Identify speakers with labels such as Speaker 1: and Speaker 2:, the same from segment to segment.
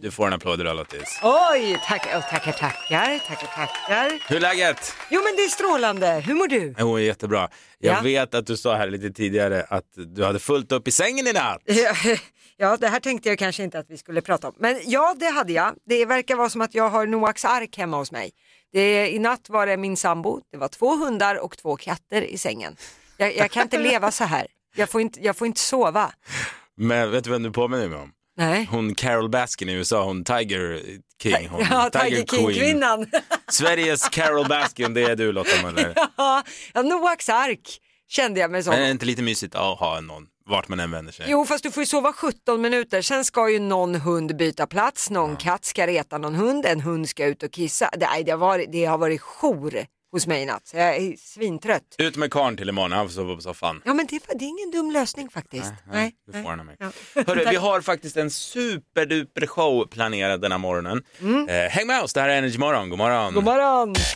Speaker 1: Du får en applåd Rallotis.
Speaker 2: Oj, tack, oh, tackar, tackar, tackar, tackar.
Speaker 1: Hur är läget?
Speaker 2: Jo men det är strålande, hur mår du?
Speaker 1: Jo, jättebra. Jag
Speaker 2: Ja.
Speaker 1: vet att du sa här lite tidigare att du hade fullt upp i sängen i natt.
Speaker 2: Ja, det här tänkte jag kanske inte att vi skulle prata om. Men ja, det hade jag. Det verkar vara som att jag har Noaks ark hemma hos mig. Det, I natt var det min sambo, det var två hundar och två katter i sängen. Jag, jag kan inte leva så här. Jag får inte, jag får inte sova.
Speaker 1: Men vet du vem du påminner mig om?
Speaker 2: Nej.
Speaker 1: Hon Carol Baskin i USA, hon Tiger King, hon
Speaker 2: Ja, Tiger King-kvinnan.
Speaker 1: Sveriges Carol Baskin, det är du Lotta Möller.
Speaker 2: ja, Noaks ark kände jag mig som.
Speaker 1: Men är det inte lite mysigt att ha någon, vart man än vänder sig?
Speaker 2: Jo fast du får ju sova 17 minuter, sen ska ju någon hund byta plats, någon katt ska reta någon hund, en hund ska ut och kissa. Det, nej, det, har, varit, det har varit jour hos mig i natt, så jag är svintrött.
Speaker 1: Ut med karn till imorgon, han får sova på soffan.
Speaker 2: Ja men det, var- det är ingen dum lösning faktiskt. Nej,
Speaker 1: Du får den av mig.
Speaker 2: Ja.
Speaker 1: Hörru, vi har faktiskt en superduper show planerad den här morgonen. Eh, häng med oss, det här är Energy Morgon. God morgon.
Speaker 2: Mm. God morgon!
Speaker 3: Det är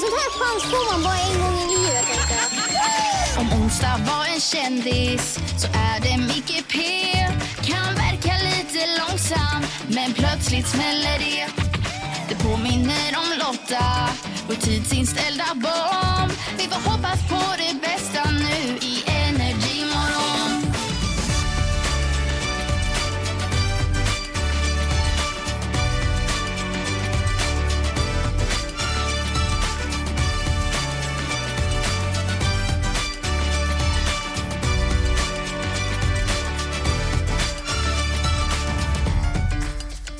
Speaker 3: sånt här chans får man bara en gång i livet. tänkte jag.
Speaker 4: Om onsdag var en kändis så är det Micke P Kan verka lite långsam men plötsligt smäller det Det påminner om Lotta och tidsinställda barn Vi får hoppas på det bästa nu i Energy morgon.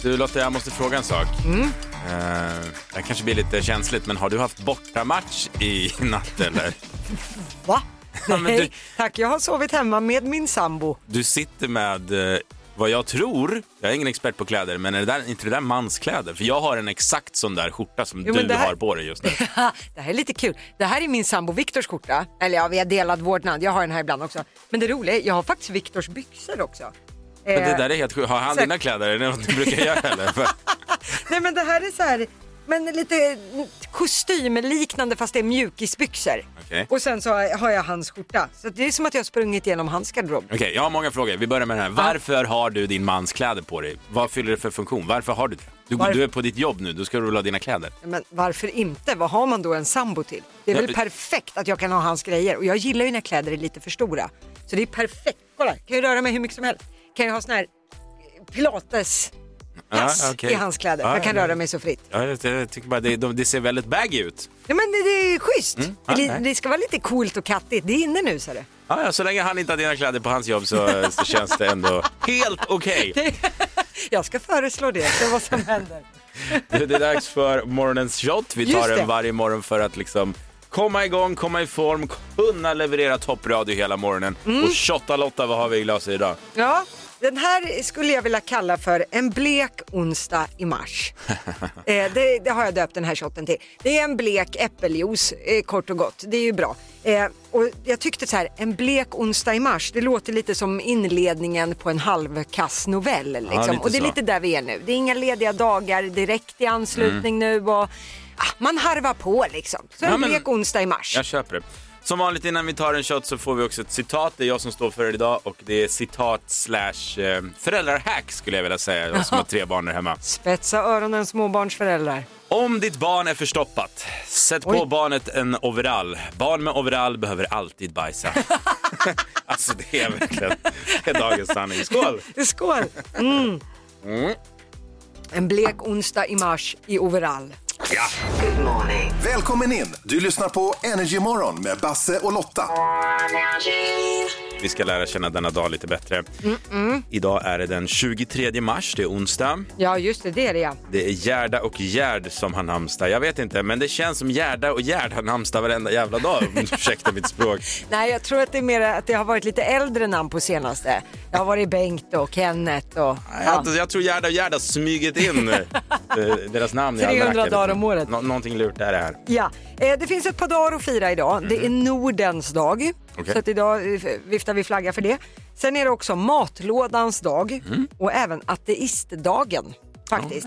Speaker 1: Du Lotta, jag måste fråga en sak.
Speaker 2: Mm.
Speaker 1: Eh, det kanske blir lite känsligt, men har du haft bortamatch i natt eller?
Speaker 2: Va?
Speaker 1: Ja, men
Speaker 2: Nej,
Speaker 1: du-
Speaker 2: tack, jag har sovit hemma med min sambo.
Speaker 1: Du sitter med eh, vad jag tror, jag är ingen expert på kläder, men är det där, inte det där manskläder? För jag har en exakt sån där skjorta som
Speaker 2: Jo, men
Speaker 1: du
Speaker 2: det här-
Speaker 1: har på dig just nu.
Speaker 2: Ha, det här är lite kul. Det här är min sambo Viktors skjorta. Eller ja, vi har delat vårdnad. Jag har den här ibland också. Men det roliga är, jag har faktiskt Viktors byxor också.
Speaker 1: Men det
Speaker 2: Eh,
Speaker 1: där är helt sjukt. Har han
Speaker 2: så-
Speaker 1: dina kläder? Är det något du brukar göra eller? För-
Speaker 2: Nej men det här är så här, men lite eh, kostymliknande fast det är mjukisbyxor.
Speaker 1: Okej.
Speaker 2: Och sen så har jag hans skjorta. Så det är som att jag har sprungit igenom hans garderob.
Speaker 1: Okej, jag har många frågor. Vi börjar med den här. Varför har du din mans kläder på dig? Vad fyller det för funktion? Varför har du det? Du,
Speaker 2: Varför-
Speaker 1: du är på ditt jobb nu, då ska du väl ha dina kläder?
Speaker 2: Men varför inte? Vad har man då en sambo till? Det är
Speaker 1: Ja,
Speaker 2: väl
Speaker 1: det-
Speaker 2: perfekt att jag kan ha hans grejer. Och jag gillar ju när kläder är lite för stora. Så det är perfekt. Kolla, kan jag röra mig hur mycket som helst. Kan jag ha sån här pilates pass
Speaker 1: Ja, Ah, okej.
Speaker 2: i hans kläder.
Speaker 1: Ja,
Speaker 2: jag kan
Speaker 1: ja,
Speaker 2: röra mig så fritt.
Speaker 1: Ja, jag, jag tycker bara det, de, det ser väldigt baggy ut.
Speaker 2: Nej men det, det är schysst.
Speaker 1: Ja,
Speaker 2: det,
Speaker 1: Mm. Ah, nej.
Speaker 2: det ska vara lite coolt och kattigt. Det är inne nu ser du.
Speaker 1: Ja, ja, så länge han inte har dina kläder på hans jobb så, så känns det ändå helt okej.
Speaker 2: Jag ska föreslå det, se vad som händer.
Speaker 1: Det, det är dags för morgonens shot. Vi
Speaker 2: Just
Speaker 1: tar
Speaker 2: det.
Speaker 1: den varje morgon för att liksom komma igång, komma i form, kunna leverera toppradio hela morgonen.
Speaker 2: Mm.
Speaker 1: Och shotta Lotta, vad har vi i glaset idag?
Speaker 2: Ja, den här skulle jag vilja kalla för en blek onsdag i mars. eh, det, det har jag döpt den här shotten till. Det är en blek äppeljuice eh, kort och gott, det är ju bra. Eh, och jag tyckte så här, en blek onsdag i mars, det låter lite som inledningen på en halvkass novell. Liksom.
Speaker 1: lite
Speaker 2: och det är
Speaker 1: så.
Speaker 2: lite där vi är nu. Det är inga lediga dagar direkt i anslutning nu och ah, man harvar på liksom. Så en
Speaker 1: Mm. Ja, men-
Speaker 2: blek onsdag i mars.
Speaker 1: Jag köper det. Som vanligt innan vi tar en shot så får vi också ett citat. Det är jag som står för det idag och det är citat slash eh, föräldrahack skulle jag vilja säga, jag som har tre barn där hemma.
Speaker 2: Spetsa öronen småbarnsföräldrar.
Speaker 1: Om ditt barn är förstoppat, sätt på
Speaker 2: Oj.
Speaker 1: barnet en overall. Barn med overall behöver alltid bajsa. alltså det är verkligen det är dagens sanning. Skål!
Speaker 2: Skål! Mm. En blek onsdag i mars i overall.
Speaker 5: Välkommen in! Du lyssnar på Energy Morgon med Basse och Lotta.
Speaker 1: Vi ska lära känna denna dag lite bättre. Idag är det den 23 mars, det är onsdag.
Speaker 2: Ja, just det, det är det ja.
Speaker 1: Det är Gerda och Gerd som har namnsdag. Jag vet inte, men det känns som Gerda och Gerd har namnsdag varenda jävla dag. om du Ursäkta mitt språk.
Speaker 2: Nej, jag tror att det är mer att det har varit lite äldre namn på senaste. Det har varit Bengt och Kenneth och...
Speaker 1: Nej,
Speaker 2: Ja.
Speaker 1: Jag, jag tror Gerda och Gerd har smugit in eh, deras namn i
Speaker 2: 300
Speaker 1: almanackan.
Speaker 2: dagar om året.
Speaker 1: Nå- någonting lurt är det här.
Speaker 2: Ja, eh, det finns ett par dagar att fira idag. Det är Nordens dag,
Speaker 1: Mhm. Okej.
Speaker 2: så att idag eh, viftar vi flagga för det. Sen är det också matlådans dag
Speaker 1: Mhm.
Speaker 2: och även ateistdagen faktiskt.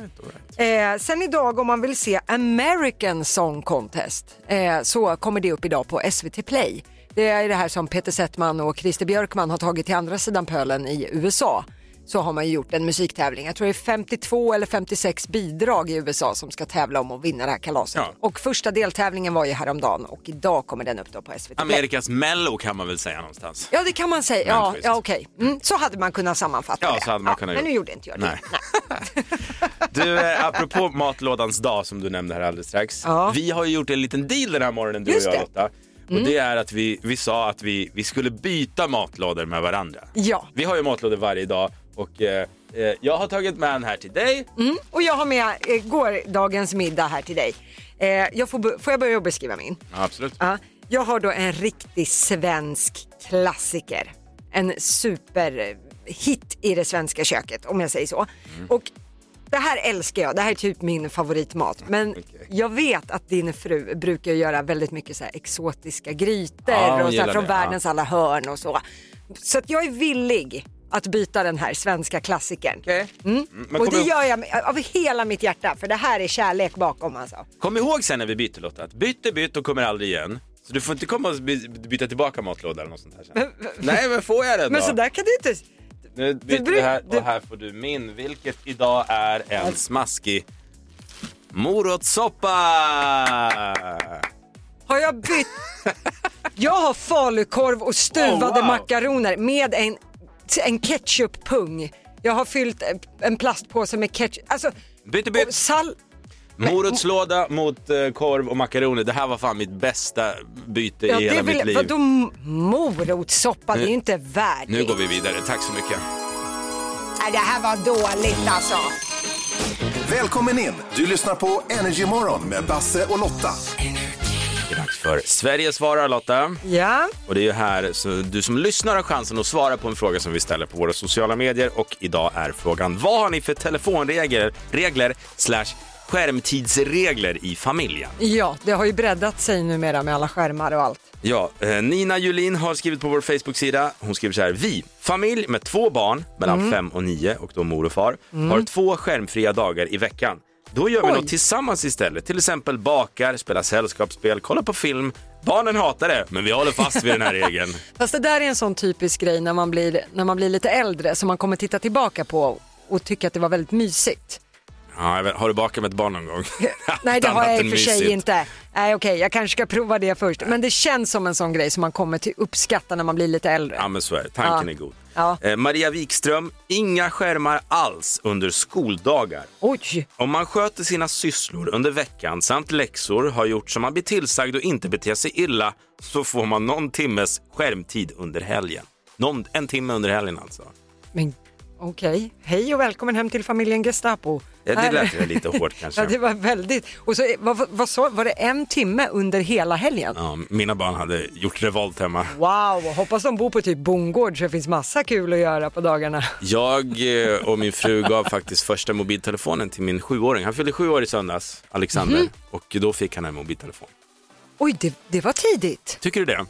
Speaker 2: Eh, sen idag om man vill se American Song Contest eh, så kommer det upp idag på SVT Play. Det är det här som Peter Settman och Christer Björkman har tagit till andra sidan pölen i USA. så har man ju gjort en musiktävling. Jag tror det är 52 eller 56 bidrag i USA som ska tävla om att vinna det här kalaset.
Speaker 1: Ja.
Speaker 2: Och första deltävlingen var ju häromdagen och idag kommer den upp då på SVT Play.
Speaker 1: Amerikas mello kan man väl säga någonstans.
Speaker 2: Ja det kan man säga, ja,
Speaker 1: Mellanqvist.
Speaker 2: ja okej. Mm, så hade man kunnat sammanfatta
Speaker 1: Ja,
Speaker 2: det.
Speaker 1: så hade man kunnat
Speaker 2: men
Speaker 1: gjort.
Speaker 2: nu gjorde inte jag det.
Speaker 1: Nej. Du, eh, apropå matlådans dag som du nämnde här alldeles strax.
Speaker 2: Ja.
Speaker 1: Vi har ju gjort en liten deal den här morgonen du
Speaker 2: Just
Speaker 1: och jag
Speaker 2: det. Mm.
Speaker 1: Lotta. Och det är att vi, vi sa att vi, vi skulle byta matlådor med varandra.
Speaker 2: Ja.
Speaker 1: Vi har ju matlådor varje dag och eh, eh, jag har tagit med en här till dig.
Speaker 2: Mm, och jag har med eh, gårdagens middag här till dig. Eh, jag får, bo- får jag börja beskriva min?
Speaker 1: Ja, absolut.
Speaker 2: Ja, jag har då en riktig svensk klassiker. En superhit i det svenska köket om jag säger så.
Speaker 1: Mm.
Speaker 2: Och det här älskar jag, det här är typ min favoritmat. Men
Speaker 1: Okej.
Speaker 2: jag vet att din fru brukar göra väldigt mycket så här exotiska grytor
Speaker 1: Ja, hon
Speaker 2: och så
Speaker 1: gillar
Speaker 2: här från
Speaker 1: det, ja.
Speaker 2: världens alla hörn och så. Så att jag är villig att byta den här svenska klassikern.
Speaker 1: Okej.
Speaker 2: Mm.
Speaker 1: Mm, men
Speaker 2: och
Speaker 1: kommer
Speaker 2: det
Speaker 1: du-
Speaker 2: gör jag med- av hela mitt hjärta för det här är kärlek bakom alltså.
Speaker 1: Kom ihåg sen när vi byter Lotta, att byt är bytt och kommer aldrig igen. Så du får inte komma och by- byta tillbaka matlåda eller något sånt här sen. Nej men får jag den
Speaker 2: Men
Speaker 1: då?
Speaker 2: så där kan du inte...
Speaker 1: Nu byter
Speaker 2: bru-
Speaker 1: vi här
Speaker 2: det- Alltså-
Speaker 1: och här får du min, vilket idag är en smaskig morotssoppa!
Speaker 2: Har jag bytt? jag har falukorv och stuvade
Speaker 1: Oh, wow.
Speaker 2: makaroner med en, en ketchuppung. Jag har fyllt en- en plastpåse med ketchup. Alltså,
Speaker 1: Byter bytt.
Speaker 2: och sal-
Speaker 1: Morotslåda mot eh, korv och makaroner. Det här var fan mitt bästa byte
Speaker 2: ja,
Speaker 1: i hela
Speaker 2: det
Speaker 1: mitt
Speaker 2: vill,
Speaker 1: liv.
Speaker 2: vadå m- morotssoppa? Det är ju inte värdigt.
Speaker 1: Nu går vi vidare, tack så mycket.
Speaker 2: Nej, det här var dåligt alltså.
Speaker 5: Välkommen in! Du lyssnar på Energy Morgon med Basse och Lotta.
Speaker 1: Det är dags för Sverige svarar Lotta.
Speaker 2: Ja,
Speaker 1: Och det är ju här så du som lyssnar har chansen att svara på en fråga som vi ställer på våra sociala medier. Och idag är frågan, vad har ni för telefonregler regler, slash skärmtidsregler i familjen?
Speaker 2: ja, det har ju breddat sig numera med alla skärmar och allt.
Speaker 1: Ja, eh, Nina Julin har skrivit på vår Facebook-sida. Hon skriver så här. Vi, familj med två barn mellan
Speaker 2: Mm.
Speaker 1: fem och nio och då mor och far, har två skärmfria dagar i veckan. Då gör vi något tillsammans istället. Till exempel bakar, spelar sällskapsspel, kollar på film. Barnen hatar det, men vi håller fast vid den här regeln.
Speaker 2: Fast det där är en sån typisk grej när man blir, när man blir lite äldre som man kommer titta tillbaka på och tycka att det var väldigt mysigt.
Speaker 1: Ja, jag vet, har du bakat med ett barn någon gång?
Speaker 2: Nej det
Speaker 1: Allt
Speaker 2: har jag
Speaker 1: annat
Speaker 2: i och
Speaker 1: än
Speaker 2: för sig
Speaker 1: mysigt.
Speaker 2: inte. Nej okej, jag kanske ska prova det först. Men det känns som en sån grej som man kommer till uppskatta när man blir lite äldre.
Speaker 1: Ja, men så är det. Tanken
Speaker 2: Ja.
Speaker 1: är god.
Speaker 2: Ja.
Speaker 1: Eh, Maria Wikström, inga skärmar alls under skoldagar.
Speaker 2: Oj,
Speaker 1: Om man sköter sina sysslor under veckan samt läxor, har gjort som man blir tillsagd och inte beter sig illa, så får man någon timmes skärmtid under helgen. Någon, en timme under helgen alltså.
Speaker 2: men okej. Hej och välkommen hem till familjen Gestapo.
Speaker 1: Ja, det
Speaker 2: Här-
Speaker 1: lät väl lite hårt kanske.
Speaker 2: ja det var väldigt. Och så, vad, vad sa, var det en timme under hela helgen?
Speaker 1: Ja, mina barn hade gjort revolt hemma.
Speaker 2: Wow, hoppas de bor på typ bondgård så det finns massa kul att göra på dagarna.
Speaker 1: Jag eh, och min fru gav faktiskt första mobiltelefonen till min sjuåring. Han fyllde sju år i söndags, Alexander, och då fick han en mobiltelefon.
Speaker 2: Oj, det, det var tidigt.
Speaker 1: Tycker du det?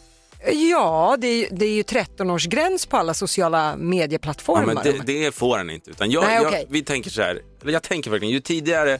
Speaker 2: Ja, det är, ju- det är ju 13-årsgräns på alla sociala
Speaker 1: Ja,
Speaker 2: medieplattformar.
Speaker 1: men det, det får han inte. Utan jag,
Speaker 2: Nej,
Speaker 1: jag,
Speaker 2: okej.
Speaker 1: vi tänker så här, eller jag tänker verkligen, ju tidigare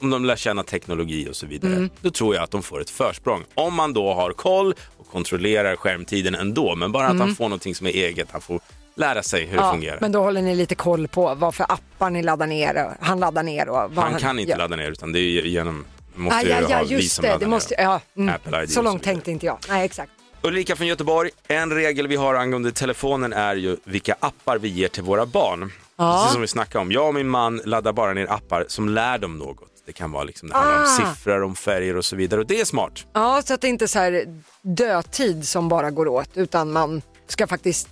Speaker 1: om de lär känna teknologi och så vidare,
Speaker 2: Mm.
Speaker 1: då tror jag att de får ett försprång. Om man då har koll och kontrollerar skärmtiden ändå, men bara att han får någonting som är eget, han får lära sig hur det fungerar.
Speaker 2: Mm. Men då håller ni lite koll på vad för appar ni laddar ner och han laddar ner och vad
Speaker 1: han kan inte
Speaker 2: gör.
Speaker 1: ladda ner, utan det är ju genom, måste
Speaker 2: Ah,
Speaker 1: ju
Speaker 2: ja, ja,
Speaker 1: ha vi
Speaker 2: just
Speaker 1: som
Speaker 2: det.
Speaker 1: laddar
Speaker 2: det
Speaker 1: ner.
Speaker 2: måste, ja, mm.
Speaker 1: Apple ID och
Speaker 2: Så långt
Speaker 1: vidare.
Speaker 2: tänkte inte jag. Nej, exakt.
Speaker 1: Ulrika från Göteborg, en regel vi har angående telefonen är ju vilka appar vi ger till våra barn.
Speaker 2: Ja.
Speaker 1: Precis som vi snackade om, jag och min man laddar bara ner appar som lär dem något. Det kan vara liksom, det handlar om
Speaker 2: Ah.
Speaker 1: siffror, om färger och så vidare och det är smart.
Speaker 2: Ja, så att det inte är så här dödtid som bara går åt utan man ska faktiskt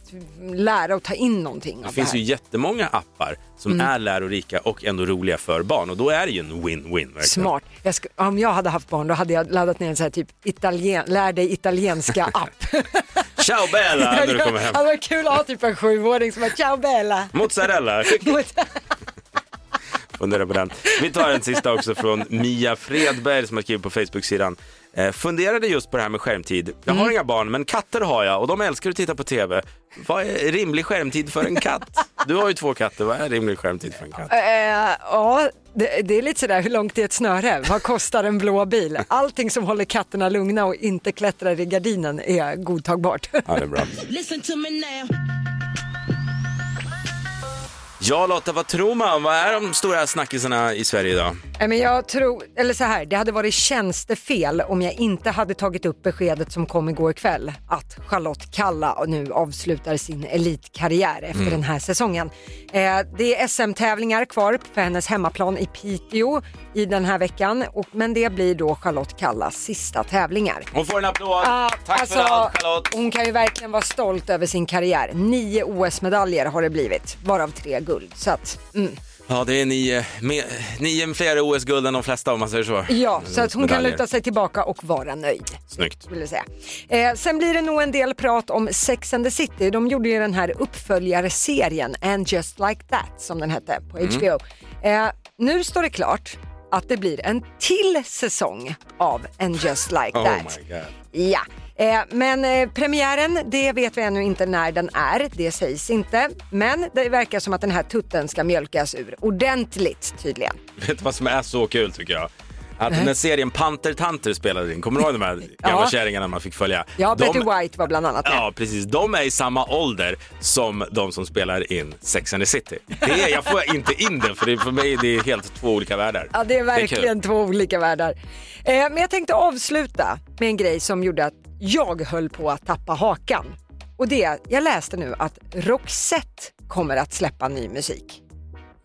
Speaker 2: lära och ta in någonting
Speaker 1: Det
Speaker 2: av
Speaker 1: finns
Speaker 2: det
Speaker 1: ju
Speaker 2: här.
Speaker 1: jättemånga appar som
Speaker 2: Mm.
Speaker 1: är lärorika och ändå roliga för barn och då är det ju en win-win. verkligen.
Speaker 2: Smart. Jag sk- om jag hade haft barn då hade jag laddat ner en så här typ italien- lär dig italienska app.
Speaker 1: Ciao Bella när du kommer hem.
Speaker 2: hade varit kul att ha typ en sjuåring som bara ciao Bella.
Speaker 1: Mozzarella. Fundera på den. Vi tar en sista också från Mia Fredberg som har skrivit på Facebook-sidan. Eh, funderade just på det här med skärmtid. Jag
Speaker 2: Mm.
Speaker 1: har inga barn men katter har jag och de älskar att titta på TV. Vad är rimlig skärmtid för en katt? Du har ju två katter, vad är rimlig skärmtid för en katt?
Speaker 2: Eh, ja, det, det är lite sådär, hur långt är ett snöre? Vad kostar en blå bil? Allting som håller katterna lugna och inte klättrar i gardinen är godtagbart.
Speaker 1: Ja, det är bra. Ja, Lotta, vad tror man? Vad är de stora snackisarna i Sverige idag?
Speaker 2: Nej, men jag tror, eller så här, det hade varit tjänstefel om jag inte hade tagit upp beskedet som kom igår kväll att Charlotte Kalla nu avslutar sin elitkarriär efter den här säsongen. Eh, det är SM-tävlingar kvar för hennes hemmaplan i Piteå i den här veckan, och, men det blir då Charlotte Kallas sista tävlingar.
Speaker 1: Hon får en applåd.
Speaker 2: Ja,
Speaker 1: Ah, Tack
Speaker 2: alltså,
Speaker 1: för allt, Charlotte.
Speaker 2: Hon kan ju verkligen vara stolt över sin karriär. Nio OS-medaljer har det blivit, varav tre guld. Så att, mm.
Speaker 1: Ja, det är nio, med, nio fler OS-guld än de flesta om man säger så.
Speaker 2: Ja, så att hon kan
Speaker 1: Medaljer.
Speaker 2: luta sig tillbaka och vara nöjd.
Speaker 1: Snyggt.
Speaker 2: Vill jag säga. Eh, sen blir det nog en del prat om Sex and the City. De gjorde ju den här uppföljarserien And just like that som den hette på
Speaker 1: Mm.
Speaker 2: HBO. Eh, nu står det klart att det blir en till säsong av And just like
Speaker 1: Oh
Speaker 2: that.
Speaker 1: my god.
Speaker 2: Ja, eh, men eh, premiären det vet vi ännu inte när den är, det sägs inte. Men det verkar som att den här tutten ska mjölkas ur ordentligt tydligen.
Speaker 1: Vet du vad som är så kul tycker jag? Att när serien Pantertanter spelade in, kommer du ihåg de här gamla
Speaker 2: Ja.
Speaker 1: kärringarna man fick följa?
Speaker 2: Ja,
Speaker 1: de,
Speaker 2: Betty White var bland annat med.
Speaker 1: Ja, precis. De är i samma ålder som de som spelar in Sex and the City. Det är, jag får inte in det, för det, för mig det är helt två olika världar.
Speaker 2: Ja, det är
Speaker 1: kul.
Speaker 2: verkligen två olika världar. Eh, men jag tänkte avsluta med en grej som gjorde att jag höll på att tappa hakan. Och det, är- jag läste nu att Roxette kommer att släppa ny musik.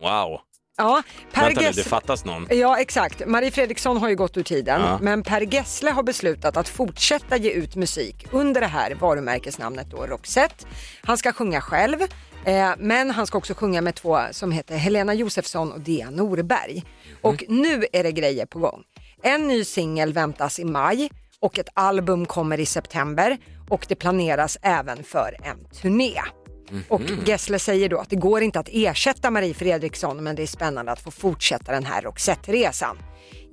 Speaker 1: Wow.
Speaker 2: Ja, Per
Speaker 1: Vänta nu,
Speaker 2: Gess-
Speaker 1: det fattas någon.
Speaker 2: Ja, exakt. Marie Fredriksson har ju gått ur tiden,
Speaker 1: Ja.
Speaker 2: men Per Gessle har beslutat att fortsätta ge ut musik under det här varumärkesnamnet då, Roxette. Han ska sjunga själv, eh, men han ska också sjunga med två som heter Helena Josefsson och Dea Norberg. Och nu är det grejer på gång. En ny singel väntas i maj och ett album kommer i september och det planeras även för en turné. Och
Speaker 1: Mm.
Speaker 2: Gessle säger då att det går inte att ersätta Marie Fredriksson men det är spännande att få fortsätta den här Roxette-resan.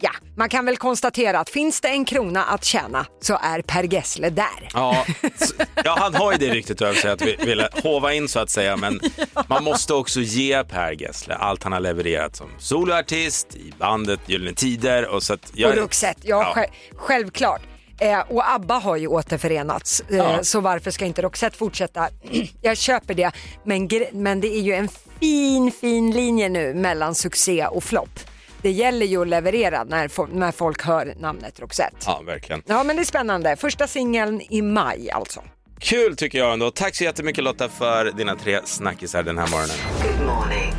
Speaker 2: Ja, man kan väl konstatera att finns det en krona att tjäna så är Per Gessle där.
Speaker 1: Ja, s- ja, han har ju det ryktet över sig att vi ville hova in så att säga, men man måste också ge Per Gessle allt han har levererat som soloartist i bandet Gyllene Tider och så att jag
Speaker 2: Och Roxette, ja, själv- självklart. Eh, och ABBA har ju återförenats, eh,
Speaker 1: Ja.
Speaker 2: så varför ska inte Roxette fortsätta? Jag köper det, men, gre- men det är ju en fin, fin linje nu mellan succé och flopp. Det gäller ju att leverera när, fo- när folk hör namnet Roxette.
Speaker 1: ja, verkligen.
Speaker 2: Ja men det är spännande. Första singeln i maj alltså.
Speaker 1: Kul tycker jag ändå. Tack så jättemycket Lotta för dina tre snackisar den här morgonen.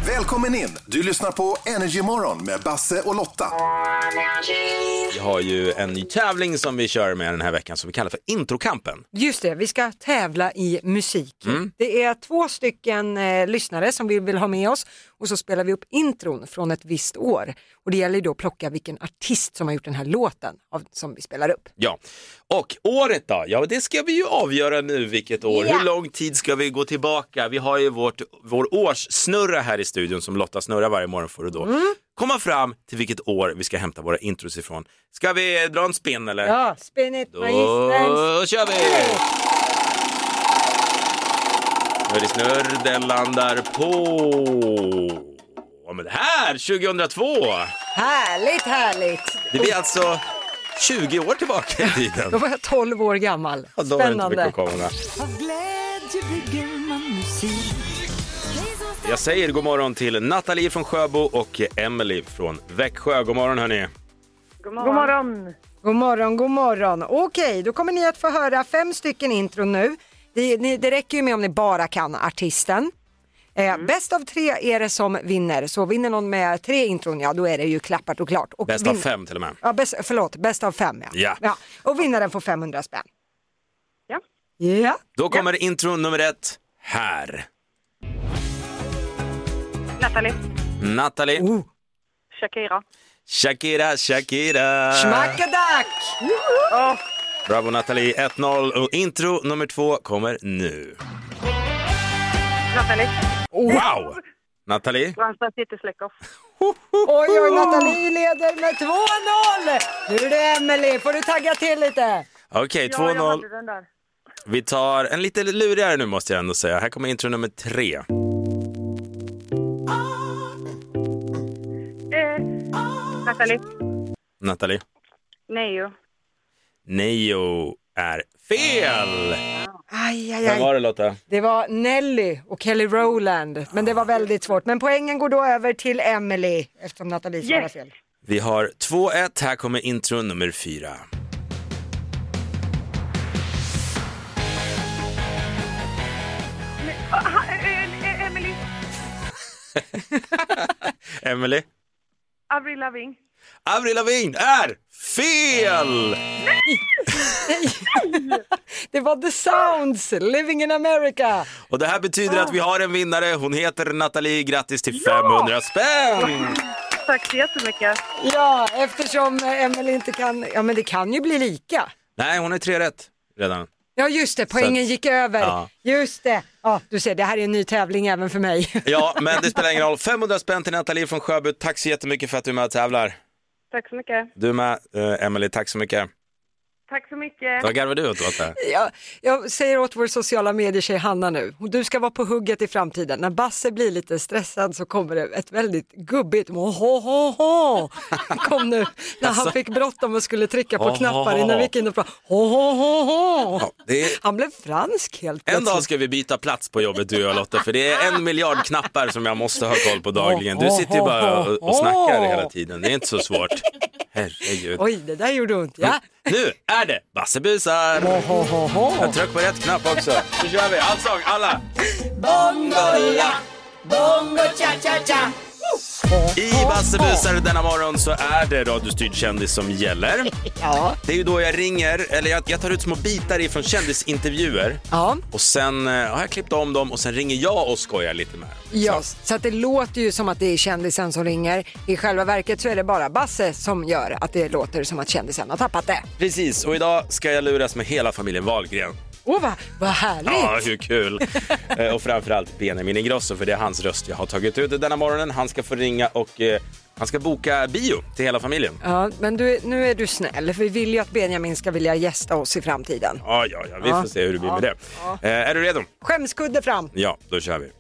Speaker 5: Välkommen in! Du lyssnar på Energy Morgon med Basse och Lotta.
Speaker 1: Vi har ju en ny tävling som vi kör med den här veckan som vi kallar för Introkampen.
Speaker 2: Just det, vi ska tävla i musik. Det är två stycken eh, lyssnare som vi vill ha med oss och så spelar vi upp intron från ett visst år. Och det gäller ju då att plocka vilken artist som har gjort den här låten av, som vi spelar upp.
Speaker 1: Ja, och året då? Ja, det ska vi ju avgöra nu vilket år.
Speaker 2: Ja.
Speaker 1: Hur lång tid ska vi gå tillbaka? Vi har ju vårt, vår årssnurra här i studion som Lotta snurrar varje morgon för och då.
Speaker 2: Mm.
Speaker 1: Komma fram till vilket år vi ska hämta våra intros ifrån. Ska vi dra en spinn eller?
Speaker 2: Ja, spin it
Speaker 1: Då
Speaker 2: magistern.
Speaker 1: kör vi! Nu är det snurr, den landar på... Ja, men det här, 2002!
Speaker 2: Härligt, härligt.
Speaker 1: Det blir alltså 20 år tillbaka i tiden.
Speaker 2: Då var jag 12 år gammal.
Speaker 1: Ja, då var det inte mycket
Speaker 2: Spännande.
Speaker 1: att komma med. Jag säger god morgon till Nathalie från Sjöbo och Emily från Växjö. God morgon hörni.
Speaker 6: God morgon!
Speaker 2: God morgon, god morgon. Okej, då kommer ni att få höra fem stycken intron nu. Det, ni, det räcker ju med om ni bara kan artisten. Eh,
Speaker 1: Mm.
Speaker 2: Bäst av tre är det som vinner, så vinner någon med tre intron, ja då är det ju klappat och klart. Och
Speaker 1: Bäst av
Speaker 2: vin-
Speaker 1: fem till och med.
Speaker 2: Ja, bäst, förlåt, bäst av fem ja.
Speaker 1: Ja.
Speaker 2: Och vinnaren får 500 spänn.
Speaker 6: Ja.
Speaker 2: Ja.
Speaker 1: Då kommer intro nummer ett här.
Speaker 6: Nathalie,
Speaker 1: Nathalie,
Speaker 2: Oh.
Speaker 6: Shakira.
Speaker 1: Shakira, Shakira.
Speaker 2: Schmackadack!
Speaker 1: Eh. Bravo Nathalie, 1-0. Och intro nummer två kommer nu.
Speaker 6: Nathalie,
Speaker 2: Oh.
Speaker 1: Wow! Nathalie,
Speaker 6: Brandsta City Släcker.
Speaker 2: Oj, oj, Nathalie leder med 2-0! Nu är det Emelie, får du tagga till lite?
Speaker 1: okej
Speaker 6: Ja, jag
Speaker 1: 2-0.
Speaker 6: hade den där.
Speaker 1: Vi tar en lite lurigare nu måste jag ändå säga. Här kommer intro nummer tre.
Speaker 6: Eh, Nathalie,
Speaker 1: Nathalie,
Speaker 6: Neo.
Speaker 1: Neo är fel.
Speaker 2: Aj, aj,
Speaker 1: Vem var
Speaker 2: aj.
Speaker 1: det Lotta?
Speaker 2: Det var Nelly och Kelly Rowland, men det var väldigt svårt. Men poängen går då över till Emily eftersom Nathalie svarade
Speaker 6: Yes.
Speaker 2: fel.
Speaker 1: Vi har 2-1, här kommer intro nummer fyra.
Speaker 6: Ah, eh, Emily,
Speaker 1: Emily.
Speaker 6: Avril Lavigne.
Speaker 1: Avril Lavigne är fel!
Speaker 2: Det var The Sounds, Living in America.
Speaker 1: Och det här betyder att vi har en vinnare. Hon heter Nathalie. Grattis till 500 spänn!
Speaker 6: Tack så jättemycket.
Speaker 2: Ja, eftersom eh, Emily inte kan, ja men det kan ju bli lika.
Speaker 1: Nej, hon är tre rätt redan.
Speaker 2: Ja just det, poängen
Speaker 1: att-
Speaker 2: gick över.
Speaker 1: Ja.
Speaker 2: Just det. Ja, du ser, det här är en ny tävling även för mig.
Speaker 1: Ja, men det spelar ingen roll. 500 spänn till Nathalie från Sjöbo. Tack så jättemycket för att du är med och tävlar.
Speaker 6: Tack så mycket.
Speaker 1: Du med, eh, Emily. Tack så mycket.
Speaker 6: Tack så mycket.
Speaker 1: Vad garvar du åt, Lotta?
Speaker 2: Jag, jag säger åt vår sociala medier-tjej Hanna nu, du ska vara på hugget i framtiden. När Basse blir lite stressad så kommer det ett väldigt gubbigt ho, ho, ho, ho. Det kom nu när
Speaker 1: Alltså.
Speaker 2: han fick bråttom och skulle trycka på
Speaker 1: Ho, ho,
Speaker 2: knappar
Speaker 1: ho.
Speaker 2: innan vi gick in och pratade. Ho, ho, ho, ho.
Speaker 1: Ja, det är-
Speaker 2: Han blev fransk helt
Speaker 1: En
Speaker 2: plötsligt.
Speaker 1: dag ska vi byta plats på jobbet, du och jag Lotta, för det är en miljard knappar som jag måste ha koll på dagligen. Du sitter ju bara och, och snackar hela tiden. Det är inte så svårt. Herregud.
Speaker 2: Oj, det där gjorde ont ja.
Speaker 1: Nu är det Basse busar!
Speaker 2: Ho, ho, ho, ho.
Speaker 1: Jag tryck på rätt knapp också. Nu kör vi, allsång, alla! I Basse busar denna morgon så är det radiostyrd kändis som gäller. Det är ju då jag ringer, eller jag, jag tar ut små bitar ifrån kändisintervjuer
Speaker 2: Ja,
Speaker 1: och sen eh, har jag klippt om dem och sen ringer jag och skojar lite med dem.
Speaker 2: ja, så att det låter ju som att det är kändisen som ringer. I själva verket så är det bara Basse som gör att det låter som att kändisen har tappat det.
Speaker 1: Precis, och idag ska jag luras med hela familjen Wahlgren.
Speaker 2: Åh, vad, vad härligt!
Speaker 1: Ja, hur kul! Eh, och framförallt Benjamin Ingrosso, för det är hans röst jag har tagit ut denna morgonen. Han ska få ringa och eh, han ska boka bio till hela familjen.
Speaker 2: Ja, men du, nu är du snäll, för vi vill ju att Benjamin ska vilja gästa oss i framtiden.
Speaker 1: Ja, ja, ja, vi
Speaker 2: Ja.
Speaker 1: får se hur det blir med det.
Speaker 2: Ja.
Speaker 1: Eh, är du redo?
Speaker 2: Skämskudde fram!
Speaker 1: Ja, då kör vi.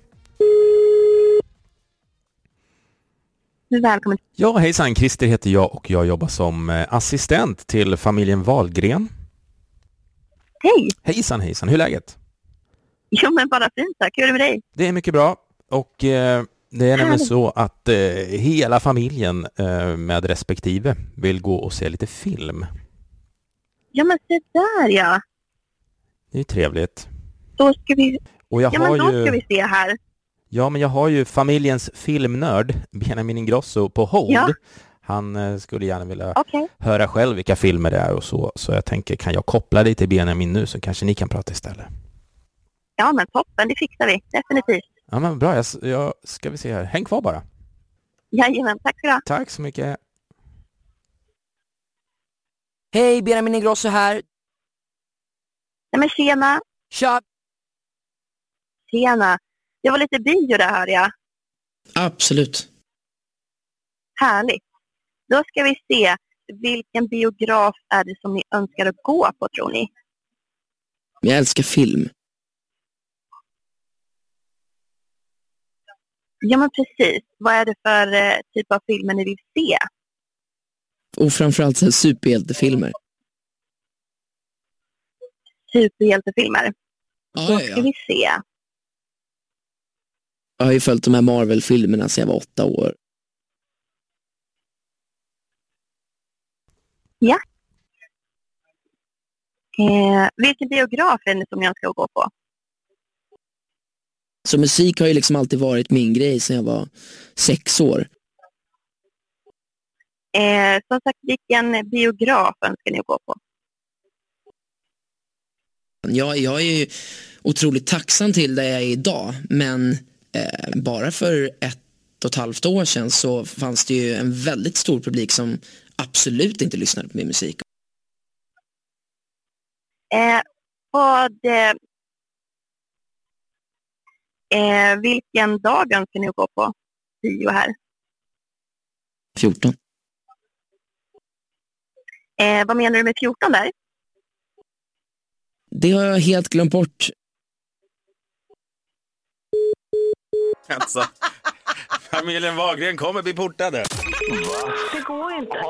Speaker 6: Välkommen.
Speaker 1: Ja, hejsan. Christer heter jag och jag jobbar som eh, assistent till familjen Wahlgren.
Speaker 6: Hej!
Speaker 1: Hejsan, hejsan. Hur är läget?
Speaker 6: Jo men bara fint tack. Hur är det med dig?
Speaker 1: Det är mycket bra och eh, det är nämligen så att eh, hela familjen eh, med respektive vill gå och se lite film.
Speaker 6: Ja men se där ja.
Speaker 1: Det är ju trevligt.
Speaker 6: Då ska vi...
Speaker 1: Och jag
Speaker 6: Ja
Speaker 1: har
Speaker 6: men då
Speaker 1: ju...
Speaker 6: ska vi se här.
Speaker 1: Ja, men jag har ju familjens filmnörd Benjamin Ingrosso på hold.
Speaker 6: Ja.
Speaker 1: Han eh, skulle gärna vilja
Speaker 6: Okej.
Speaker 1: höra själv vilka filmer det är och så. Så jag tänker, kan jag koppla dig till Benjamin nu så kanske ni kan prata istället?
Speaker 6: Ja men toppen, det fixar vi. Definitivt.
Speaker 1: Ja, men bra. Jag, s- jag ska vi se här. Häng kvar bara.
Speaker 6: Jajamän, tack ska du ha.
Speaker 1: Tack så mycket.
Speaker 7: Hej, Benjamin Ingrosso här.
Speaker 6: Nej men tjena.
Speaker 7: Tja!
Speaker 6: Tjena. Det var lite bio där hör jag.
Speaker 8: Absolut.
Speaker 6: Härligt. Då ska vi se. Vilken biograf är det som ni önskar att gå på tror ni?
Speaker 8: Jag älskar film.
Speaker 6: Ja men precis. Vad är det för eh, typ av filmer ni vill se?
Speaker 8: Och framförallt så här superhjältefilmer.
Speaker 6: Superhjältefilmer. Typ Då
Speaker 8: Ja,
Speaker 6: ska
Speaker 8: ja, ja.
Speaker 6: vi se.
Speaker 8: Jag har ju följt de här Marvel-filmerna sedan jag var åtta år.
Speaker 6: Eh, vilken biograf är det som ni önskar att gå på?
Speaker 8: Så musik har ju liksom alltid varit min grej sedan jag var sex år.
Speaker 6: Eh, som sagt, vilken biograf önskar ni att gå på?
Speaker 8: Jag, jag är ju otroligt tacksam till där jag är idag, men eh, bara för ett och ett halvt år sedan så fanns det ju en väldigt stor publik som absolut inte lyssnade på min musik.
Speaker 6: Eh, vad, eh, eh, vilken dag önskar ni att gå på bio här?
Speaker 8: 14.
Speaker 6: Eh, vad menar du med 14 där?
Speaker 8: Det har jag helt glömt bort.
Speaker 1: Alltså, familjen Wahlgren kommer bli portade.
Speaker 6: Det går inte.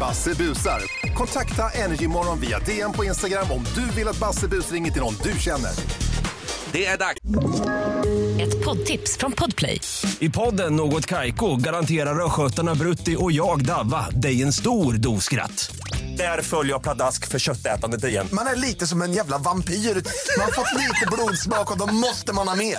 Speaker 9: Basse busar. Kontakta Energymorgon via DM på Instagram om du vill att Basse bus ringer till någon du känner.
Speaker 1: Det är dags!
Speaker 4: Ett poddtips från Podplay.
Speaker 10: I podden Något Kaiko garanterar östgötarna Brutti och jag, Davva, dig en stor dos skratt. Där följer jag pladask för köttätandet igen.
Speaker 11: Man är lite som en jävla vampyr. Man har fått lite blodsmak och då måste man ha mer.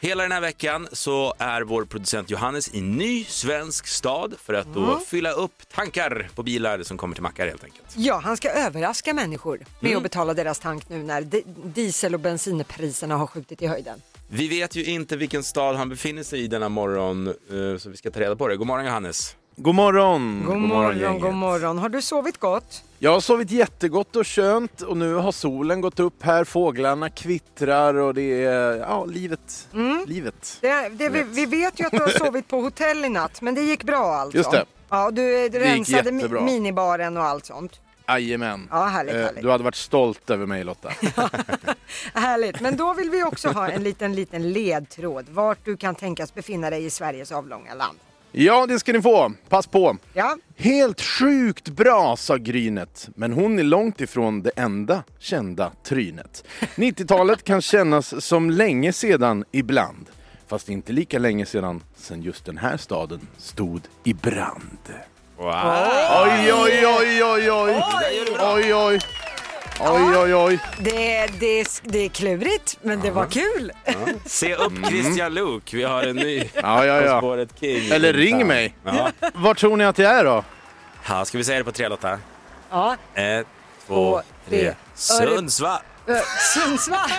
Speaker 1: Hela den här veckan så är vår producent Johannes i ny svensk stad för att då fylla upp tankar på bilar som kommer till mackar helt enkelt.
Speaker 2: ja, han ska överraska människor med att betala deras tank nu när di- diesel och bensinpriserna har skjutit i höjden.
Speaker 1: Vi vet ju inte vilken stad han befinner sig i denna morgon eh, så vi ska ta reda på det. God morgon Johannes!
Speaker 5: God morgon!
Speaker 10: Mm,
Speaker 2: God, morgon, god morgon. Har du sovit gott?
Speaker 5: Jag har sovit jättegott och skönt och nu har solen gått upp här, fåglarna kvittrar och det är ja, livet. livet.
Speaker 2: Mm. Det, det, vi, vi vet ju att du har sovit på hotell i natt, men det gick bra alltså.
Speaker 5: Just det.
Speaker 2: Ja, du eh, rensade mi-
Speaker 5: jättebra.
Speaker 2: minibaren och allt sånt.
Speaker 5: Jajamän.
Speaker 2: Ja, härligt,
Speaker 5: Eh,
Speaker 2: härligt.
Speaker 5: Du hade varit stolt över mig Lotta.
Speaker 2: Härligt, men då vill vi också ha en liten, liten ledtråd vart du kan tänkas befinna dig i Sveriges avlånga land.
Speaker 5: ja, det ska ni få. Pass på.
Speaker 2: Ja,
Speaker 5: Helt sjukt bra, sa Grynet. Men hon är långt ifrån det enda kända trynet. 90-talet kan kännas som länge sedan ibland. Fast inte lika länge sedan, sen just den här staden stod i brand. Oj, oj, oj, oj, oj! Oj, oj! Oj, oj, oj.
Speaker 2: det, det, det är klurigt, men det var kul.
Speaker 1: Se upp Christian Luuk, vi har en ny
Speaker 5: Mm. Ja, ja,
Speaker 1: På
Speaker 5: ja.
Speaker 1: spåret King.
Speaker 5: Eller ring mig.
Speaker 1: Ja.
Speaker 5: Var tror ni att jag är då?
Speaker 1: Ja, ska vi säga det på tre Lotta?
Speaker 2: Ja,
Speaker 1: Ett, två, tre.
Speaker 2: tre.
Speaker 1: Sundsvall!
Speaker 2: eh, Sundsvall.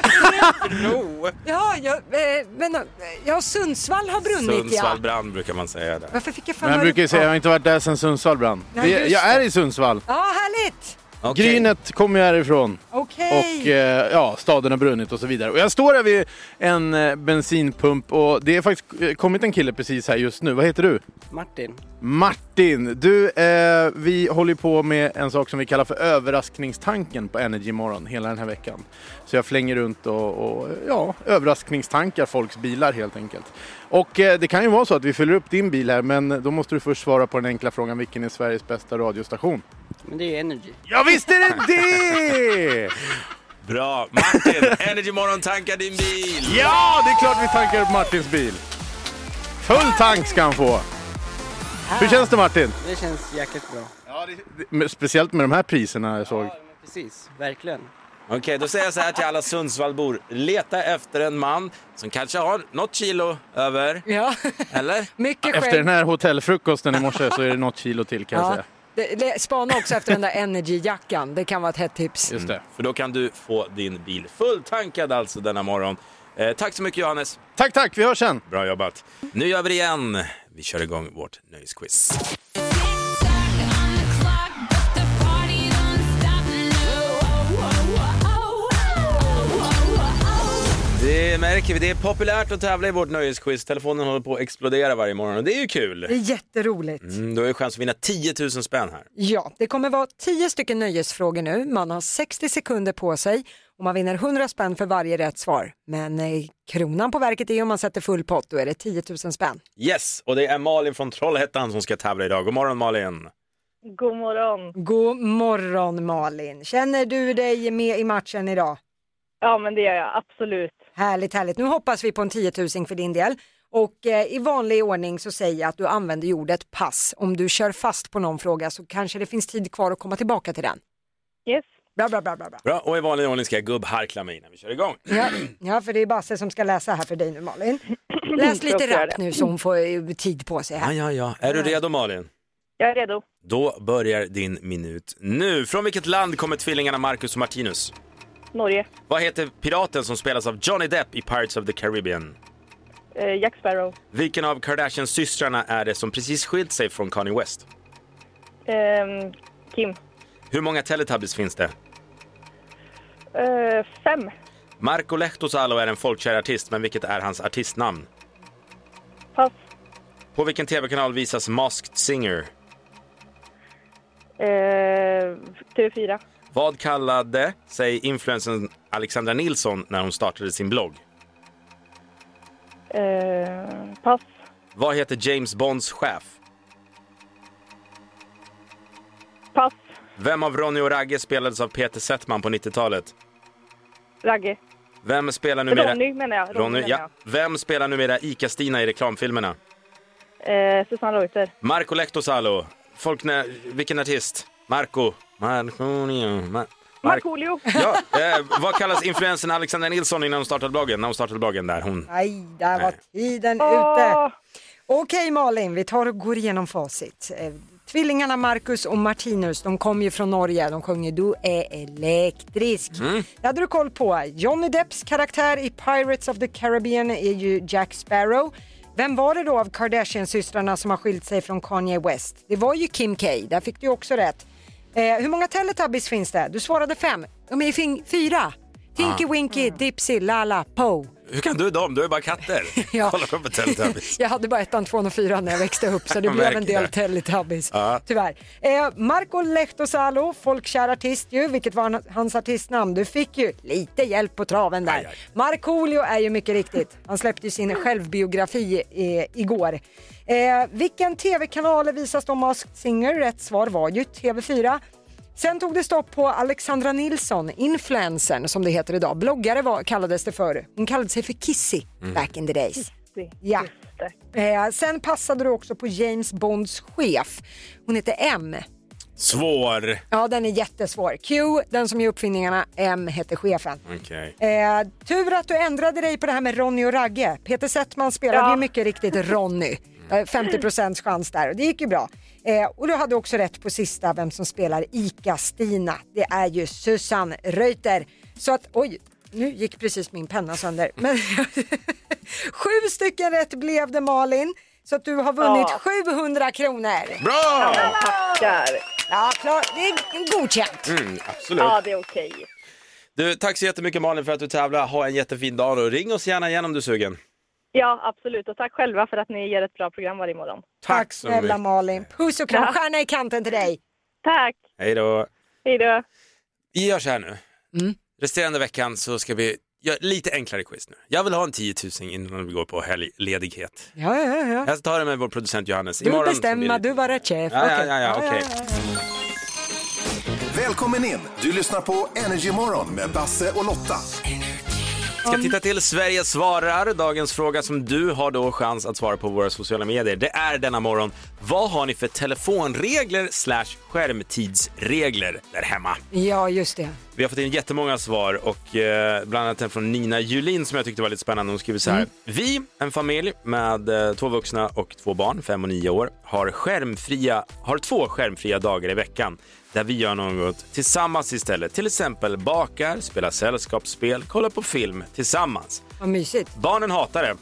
Speaker 2: ja, jag, eh, men, eh, ja, Sundsvall har brunnit
Speaker 1: Sundsvall
Speaker 2: ja.
Speaker 1: brann brukar man säga där.
Speaker 2: Varför fick jag för
Speaker 5: Men jag
Speaker 2: mig-
Speaker 5: brukar ju säga, jag har inte varit där sedan Sundsvall brann.
Speaker 2: Nej,
Speaker 5: Det-
Speaker 2: just
Speaker 5: Jag är i Sundsvall.
Speaker 2: Ja, härligt.
Speaker 1: Okej.
Speaker 5: Grynet kommer ju härifrån.
Speaker 2: Okej.
Speaker 5: och eh, ja, staden har brunnit och så vidare. Och jag står här vid en eh, bensinpump och det är faktiskt eh, kommit en kille precis här just nu. Vad heter du?
Speaker 12: Martin.
Speaker 5: Martin! Du, eh, vi håller ju på med en sak som vi kallar för överraskningstanken på Energy Morgon hela den här veckan. Så jag flänger runt och, och ja, överraskningstankar folks bilar helt enkelt. Och eh, det kan ju vara så att vi fyller upp din bil här men då måste du först svara på den enkla frågan vilken är Sveriges bästa radiostation?
Speaker 12: Men det är ju Energy.
Speaker 5: Ja visst är det det!
Speaker 1: Bra! Martin, Energy Morgon tankar din bil!
Speaker 5: Ja, det är klart vi tankar upp Martins bil. Full tank ska han få. Hur känns Ah. det Martin?
Speaker 12: Det känns jäkligt bra.
Speaker 5: Men Speciellt med de här priserna jag såg.
Speaker 12: men precis. Verkligen.
Speaker 1: Okej, då säger jag så här till alla Sundsvallbor. Leta efter en man som kanske har något kilo över,
Speaker 2: Ja,
Speaker 1: eller?
Speaker 2: mycket
Speaker 5: Efter den
Speaker 2: skämt.
Speaker 5: här hotellfrukosten i morse så är det något kilo till kan jag
Speaker 2: Ja.
Speaker 5: säga.
Speaker 2: Det- det- Spana också efter den där energijackan. Det kan vara ett hett tips.
Speaker 5: Just det.
Speaker 1: För då kan du få din bil fulltankad alltså denna morgon. Eh, tack så mycket Johannes,
Speaker 5: Tack, tack, vi hörs sen.
Speaker 1: bra jobbat. Nu gör vi det igen. Vi kör igång vårt nöjesquiz. Det märker vi, det är populärt att tävla i vårt nöjesquiz. Telefonen håller på att explodera varje morgon och det är ju
Speaker 2: Det
Speaker 1: kul.
Speaker 2: är jätteroligt.
Speaker 1: Mm, då är det chans att vinna 10 000 spänn här.
Speaker 2: Ja, det kommer vara 10 stycken nöjesfrågor nu. Man har 60 sekunder på sig och man vinner 100 spänn för varje rätt svar. Men eh, kronan på verket är om man sätter full pott, då är det 10 000 spänn.
Speaker 1: Yes, och det är Malin från Trollhättan som ska tävla idag. God morgon Malin!
Speaker 13: God morgon.
Speaker 2: God morgon Malin! Känner du dig med i matchen idag?
Speaker 13: Ja, men det gör jag absolut.
Speaker 2: Härligt, härligt. Nu hoppas vi på en 10 000 för din del. Och eh, i vanlig ordning så säger jag att du använder ju ordet pass. Om du kör fast på någon fråga så kanske det finns tid kvar att komma tillbaka till den.
Speaker 13: Yes.
Speaker 2: Bra, bra, bra, bra. bra.
Speaker 1: Bra, och i vanlig ordning ska jag gubbharkla mig innan vi kör igång.
Speaker 2: Ja, ja, för det är Basse som ska läsa här för dig nu Malin. Läs lite
Speaker 13: Jag får göra
Speaker 2: rappt nu så hon får eh, tid på sig
Speaker 1: Ja,
Speaker 2: här.
Speaker 1: ja, ja. Är du redo Malin?
Speaker 13: Jag är redo.
Speaker 1: Då börjar din minut nu. Från vilket land kommer tvillingarna Marcus och Martinus?
Speaker 13: Norge.
Speaker 1: Vad heter piraten som spelas av Johnny Depp i Pirates of the Caribbean?
Speaker 13: Eh, Jack Sparrow.
Speaker 1: Vilken av Kardashians systrarna är det som precis skilt sig från Kanye West?
Speaker 13: Ehm, Kim.
Speaker 1: Hur många Teletubbies finns det?
Speaker 13: Eh, fem.
Speaker 1: Marco Lehtosalo är en folkkär artist, men vilket är hans artistnamn?
Speaker 13: Pass.
Speaker 1: På vilken tv-kanal visas Masked Singer?
Speaker 13: Eh, TV4.
Speaker 1: Vad kallade sig influencern Alexandra Nilsson när hon startade sin blogg?
Speaker 13: Eh, pass.
Speaker 1: Vad heter James Bonds chef?
Speaker 13: Pass.
Speaker 1: Vem av Ronny och Ragge spelades av Peter Settman på 90-talet?
Speaker 13: Ragge.
Speaker 1: Vem spelar numera...
Speaker 13: Ronny menar jag. Ronny,
Speaker 1: Ronny,
Speaker 13: menar
Speaker 1: ja. Vem spelar numera Ica-Stina i reklamfilmerna?
Speaker 13: jag. Eh, Susanne Reuter.
Speaker 1: Marco Lehtosalo. Folk när, vilken artist? Marco. Marco. Mar-
Speaker 13: Markoolio.
Speaker 1: Ja, eh, vad kallas influensen Alexandra Nilsson innan hon startade bloggen? När hon startade bloggen där hon...
Speaker 2: Nej, där var tiden ute. Okej Malin, vi tar och går igenom facit. Eh, Tvillingarna Marcus och Martinus, de kom ju från Norge. De sjöng ju Du är elektrisk. Det hade du koll på. Johnny Depps karaktär i Pirates of the Caribbean är ju Jack Sparrow. Vem var det då av Kardashian-systrarna som har skilt sig från Kanye West? Det var ju Kim K, där fick du också rätt. Eh, hur många Teletubbies finns det? Du svarade fem. De är fin- fyra. Tinky
Speaker 1: Ah.
Speaker 2: Winky, Dipsy, Lala, Poe.
Speaker 1: Hur kan du dem? Du är bara katter.
Speaker 2: Ja.
Speaker 1: Kolla på Teletubbies.
Speaker 2: Jag hade bara ettan, tvåan och fyran när jag växte upp så det blev en
Speaker 1: Verkligen.
Speaker 2: del Teletubbies.
Speaker 1: Ja.
Speaker 2: Tyvärr. Eh, Marco Lehtosalo, folkkär artist ju, vilket var han- hans artistnamn. Du fick ju lite hjälp på traven där. Markoolio är ju mycket riktigt. Han släppte ju sin självbiografi eh, igår. Eh, vilken tv-kanal visas då Masked Singer? Rätt svar var ju TV4. Sen tog det stopp på Alexandra Nilsson, influencern som det heter idag. Bloggare var, kallades det förr. Hon kallade sig för Kissy
Speaker 14: Mm.
Speaker 2: back in the days. Ja. Eh, sen passade du också på James Bonds chef. Hon heter M.
Speaker 1: Svår.
Speaker 2: Ja, den är jättesvår. Q, den som är uppfinningarna, M heter chefen.
Speaker 1: Okej.
Speaker 2: Eh, tur att du ändrade dig på det här med Ronny och Ragge. Peter Settman spelade
Speaker 14: Ja.
Speaker 2: ju mycket riktigt Ronny.
Speaker 1: Mm.
Speaker 2: Eh, 50 chans där och det gick ju bra. Eh, och du hade också rätt på sista vem som spelar ICA-Stina. Det är ju Susanne Reuter. Så att, oj, nu gick precis min penna sönder. Men sju stycken rätt blev det Malin. Så att du har vunnit
Speaker 14: Ja.
Speaker 2: 700 kronor.
Speaker 1: Bra!
Speaker 14: Ja,
Speaker 2: tackar! Ja, klart. Det är godkänt.
Speaker 1: Mm, absolut.
Speaker 2: det är okej.
Speaker 1: Du, tack så jättemycket Malin för att du tävlar. Ha en jättefin dag och ring oss gärna igen om du är sugen.
Speaker 13: Ja, absolut. Och tack själva för att ni ger ett bra program varje morgon.
Speaker 1: Tack så
Speaker 2: Snälla
Speaker 1: mycket.
Speaker 2: Malin. Puss och kram.
Speaker 13: Ja.
Speaker 2: Stjärna i kanten till dig.
Speaker 13: Tack.
Speaker 1: Hej då.
Speaker 13: Hej då.
Speaker 1: Vi gör så här nu. Resterande veckan så ska vi göra lite enklare quiz nu. Jag vill ha en 10 000 innan vi går på helgledighet.
Speaker 2: Ja, ja, ja.
Speaker 1: Jag tar det med vår producent Johannes.
Speaker 2: Du
Speaker 1: Imorgon så
Speaker 2: bestämmer,
Speaker 1: blir det-
Speaker 2: du var rätt chef.
Speaker 1: Ja, ja,
Speaker 2: Okej.
Speaker 1: ja, ja, okej.
Speaker 5: Välkommen in! Du lyssnar på Energy Morgon med Basse och Lotta.
Speaker 1: Ska titta till Sverige svarar. Dagens fråga som du har då chans att svara på våra sociala medier. Det är denna morgon. Vad har ni för telefonregler slash skärmtidsregler där hemma?
Speaker 2: Ja, just det.
Speaker 1: Vi har fått in jättemånga svar och eh, bland annat en från Nina Julin som jag tyckte var lite spännande. Hon skriver så här.
Speaker 2: Mm.
Speaker 1: Vi, en familj med eh, två vuxna och två barn, fem och nio år, har, skärmfria, har två skärmfria dagar i veckan där vi gör något tillsammans istället. Till exempel bakar, spelar sällskapsspel, kollar på film tillsammans.
Speaker 2: Vad mysigt.
Speaker 1: Barnen hatar det,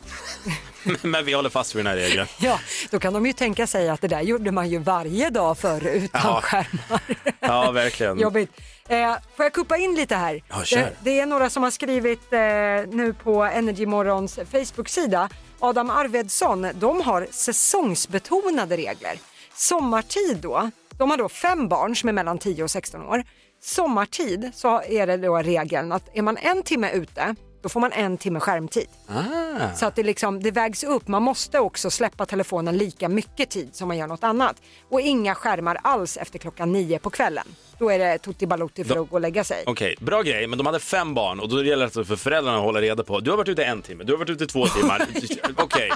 Speaker 1: men vi håller fast vid den här regeln.
Speaker 2: Ja, då kan de ju tänka sig att det där gjorde man ju varje dag förr utan
Speaker 1: Ja.
Speaker 2: skärm.
Speaker 1: Ja, verkligen.
Speaker 2: Jobbigt. Eh, får jag kuppa in lite här?
Speaker 1: Ja, kör.
Speaker 2: det, det är några som har skrivit eh, nu på Energy Morgons Facebook-sida. Adam Arvedsson, de har säsongsbetonade regler. Sommartid då, de har då fem barn som är mellan 10 och 16 år. Sommartid så är det då regeln att är man en timme ute, då får man en timme skärmtid.
Speaker 1: Ah.
Speaker 2: Så att det, liksom, det vägs upp. Man måste också släppa telefonen lika mycket tid som man gör något annat. Och inga skärmar alls efter klockan nio på kvällen. Då är det tutti balutti för
Speaker 1: Då-
Speaker 2: att gå och lägga sig.
Speaker 1: Okej, bra grej, men de hade fem barn och då gäller det alltså för föräldrarna att hålla reda på. Du har varit ute en timme, du har varit ute två timmar. Okej,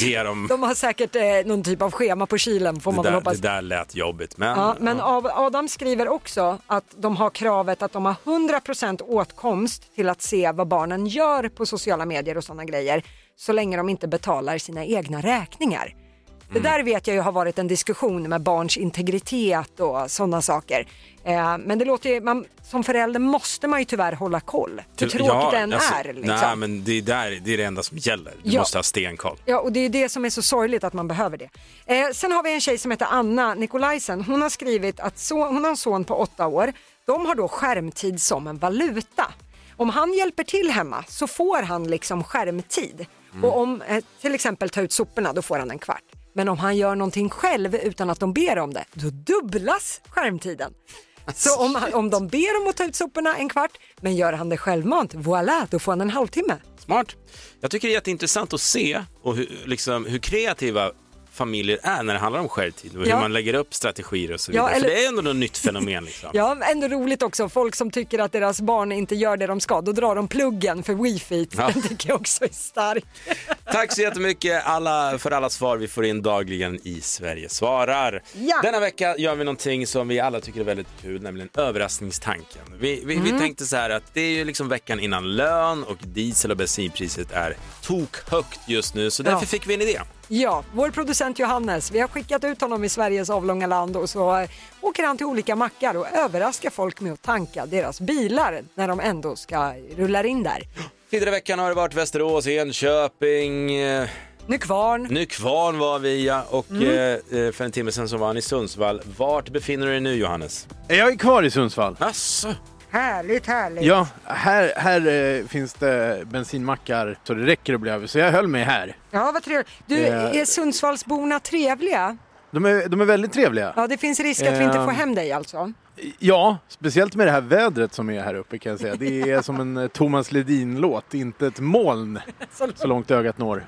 Speaker 1: ge dem.
Speaker 2: De har säkert eh, någon typ av schema på kylen får
Speaker 1: Det
Speaker 2: man väl
Speaker 1: där,
Speaker 2: hoppas.
Speaker 1: det där lät jobbigt, men...
Speaker 2: Ja, men av- Adam skriver också att de har kravet att de har 100% åtkomst till att se vad barnen gör på sociala medier och sådana grejer så länge de inte betalar sina egna räkningar. Det där vet jag ju har varit en diskussion med barns integritet och sådana saker. Eh, men det låter ju, man, som förälder måste man ju tyvärr hålla koll hur tråkigt det än
Speaker 1: alltså,
Speaker 2: är. Liksom.
Speaker 1: Nej, men det, där, det är det enda som gäller. Du
Speaker 2: Ja.
Speaker 1: måste ha stenkoll.
Speaker 2: Ja, och det är det som är så sorgligt att man behöver det. Eh, sen har vi en tjej som heter Anna Nikolajsen. Hon har skrivit att så, hon har en son på åtta år. De har då skärmtid som en valuta. Om han hjälper till hemma så får han liksom skärmtid. Och om eh, till exempel ta ut soporna, då får han en kvart. Men om han gör någonting själv utan att de ber om det, då dubblas skärmtiden. Så om, han, om de ber om att ta ut soporna en kvart, men gör han det självmant, voilà, då får han en halvtimme.
Speaker 1: Smart. Jag tycker det är jätteintressant att se och hur, liksom, hur kreativa familjer är när det handlar om skärtid och
Speaker 2: Ja.
Speaker 1: hur man lägger upp strategier och så
Speaker 2: Ja,
Speaker 1: vidare.
Speaker 2: eller-
Speaker 1: För det är ändå något nytt fenomen. Liksom.
Speaker 2: Ja, ändå roligt också, folk som tycker att deras barn inte gör det de ska, då drar de pluggen för wifi.
Speaker 1: Ja.
Speaker 2: Den tycker jag också är stark.
Speaker 1: Tack så jättemycket alla, för alla svar vi får in dagligen i Sverige svarar.
Speaker 2: Ja.
Speaker 1: Denna vecka gör vi någonting som vi alla tycker är väldigt kul, nämligen överraskningstanken. Vi, vi, vi
Speaker 14: Mm.
Speaker 1: tänkte så här att det är ju liksom veckan innan lön och diesel och bensinpriset är tokhögt just nu, så därför
Speaker 2: Ja.
Speaker 1: fick vi en idé.
Speaker 2: Ja, vår producent Johannes, vi har skickat ut honom i Sveriges avlånga land och så eh, åker han till olika mackar och överraskar folk med att tanka deras bilar när de ändå ska rulla in där.
Speaker 1: Tidigare i veckan har det varit Västerås, Enköping, eh,
Speaker 2: Nykvarn.
Speaker 1: Nykvarn var vi ja, och
Speaker 2: Mm.
Speaker 1: eh, eh, för en timme sedan så var han i Sundsvall. Vart befinner du dig nu Johannes?
Speaker 10: Jag är kvar i Sundsvall.
Speaker 1: Asså.
Speaker 2: Härligt, härligt.
Speaker 10: Ja, här, här eh, finns det bensinmackar så det räcker att bli över, så jag höll mig här.
Speaker 2: Ja, vad trevligt. Du,
Speaker 10: Eh.
Speaker 2: är Sundsvallsborna trevliga?
Speaker 10: De är, de är väldigt trevliga.
Speaker 2: Ja, det finns risk att vi inte
Speaker 10: Eh.
Speaker 2: får hem dig alltså.
Speaker 10: Ja, speciellt med det här vädret som är här uppe kan jag säga. Det är som en eh, Thomas Ledin-låt, inte ett moln så långt ögat når.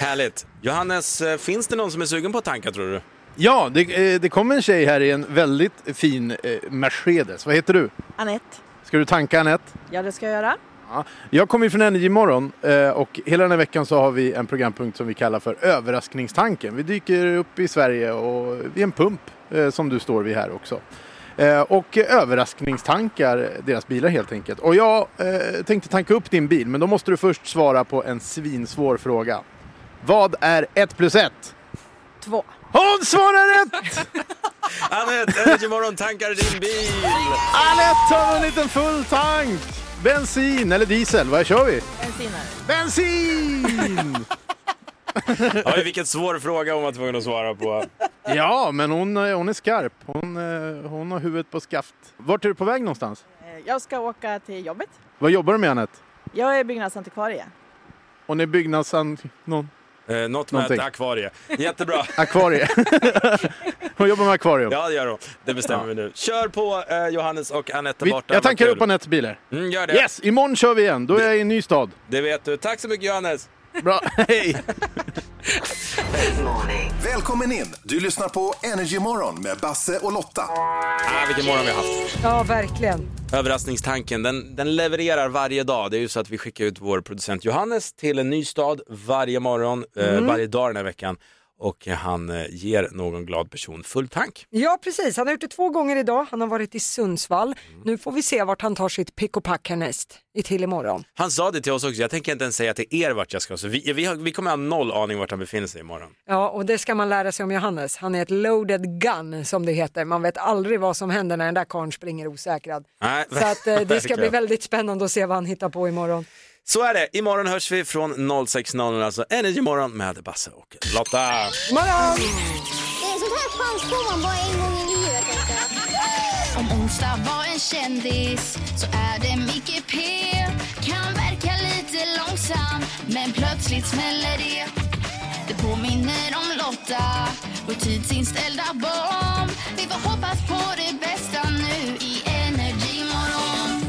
Speaker 1: Härligt. Johannes, eh, finns det någon som är sugen på att tanka tror du?
Speaker 10: Ja, det, eh, det kom en tjej här i en väldigt fin eh, Mercedes. Vad heter du?
Speaker 15: Anette.
Speaker 10: Ska du tanka Anette?
Speaker 15: Ja, det ska jag göra.
Speaker 10: Ja. Jag kommer ju från Energy Morgon eh, och hela den här veckan så har vi en programpunkt som vi kallar för överraskningstanken. Vi dyker upp i Sverige och vid en pump eh, som du står vid här också. Eh, Och eh, överraskningstankar deras bilar helt enkelt. Och jag eh, tänkte tanka upp din bil men då måste du först svara på en svinsvår fråga. Vad är 1 plus 1?
Speaker 15: Två.
Speaker 10: Hon svarar rätt!
Speaker 1: Anette, Energy Morgon tankar din bil!
Speaker 10: Anette har vunnit en full tank! Bensin eller diesel, vad kör vi?
Speaker 15: Bensinare.
Speaker 10: Bensin!
Speaker 1: Oj, vilken svår fråga hon var tvungen att svara på. Eh,
Speaker 10: Ja, men hon, eh, hon är skarp. Hon, eh, hon har huvudet på skaft. Vart är du på väg någonstans?
Speaker 15: Eh, Jag ska åka till jobbet.
Speaker 10: Vad jobbar du med Anette?
Speaker 15: Jag är byggnadsantikvarie.
Speaker 10: Hon är byggnadsan... Någon?
Speaker 1: Eh, något med
Speaker 10: Någonting.
Speaker 1: ett akvarie. Jättebra.
Speaker 10: Akvarie. hon jobbar med akvarium.
Speaker 1: Ja, det gör hon. Det bestämmer
Speaker 10: Ja.
Speaker 1: vi nu. Kör på eh, Johannes och Anette
Speaker 10: Vi,
Speaker 1: borta.
Speaker 10: jag
Speaker 1: Vad
Speaker 10: tankar
Speaker 1: kul.
Speaker 10: upp Anettes bilar.
Speaker 1: Mm, gör det.
Speaker 10: Yes, imorgon kör vi igen. Då är jag i en ny stad.
Speaker 1: Det vet du. Tack så mycket Johannes.
Speaker 10: Bra, hej!
Speaker 5: Välkommen in! Du lyssnar på Energy Morgon med Basse och Lotta.
Speaker 1: Ah, vilken morgon vi har haft.
Speaker 2: Ja, verkligen.
Speaker 1: Överraskningstanken, den, den levererar varje dag. Det är ju så att vi skickar ut vår producent Johannes till en ny stad varje morgon, eh,
Speaker 2: Mm.
Speaker 1: varje dag den här veckan. Och han eh, ger någon glad person full tank.
Speaker 2: Ja, precis. Han har gjort det två gånger idag. Han har varit i Sundsvall.
Speaker 1: Mm.
Speaker 2: Nu får vi se vart han tar sitt pick och pack härnäst, i till imorgon.
Speaker 1: Han sa det till oss också, jag tänker inte ens säga till er vart jag ska. Så vi, vi, har, vi kommer ha noll aning vart han befinner sig imorgon.
Speaker 2: Ja, och det ska man lära sig om Johannes. Han är ett loaded gun som det heter. Man vet aldrig vad som händer när den där karln springer osäkrad.
Speaker 1: Nej,
Speaker 2: Så att, eh, det ska bli
Speaker 1: verkligen.
Speaker 2: väldigt spännande att se vad han hittar på imorgon.
Speaker 1: Så är det, imorgon hörs vi från 06.00, alltså Energy Morgon med Basse och Lotta.
Speaker 2: Morgon!
Speaker 3: Eh, Sånt här chans får man bara en gång i livet. tänkte jag.
Speaker 4: Om onsdag var en kändis så är det Micke P Kan verka lite långsam men plötsligt smäller det Det påminner om Lotta och tidsinställda barn Vi får hoppas på det bästa nu i Energy morgon.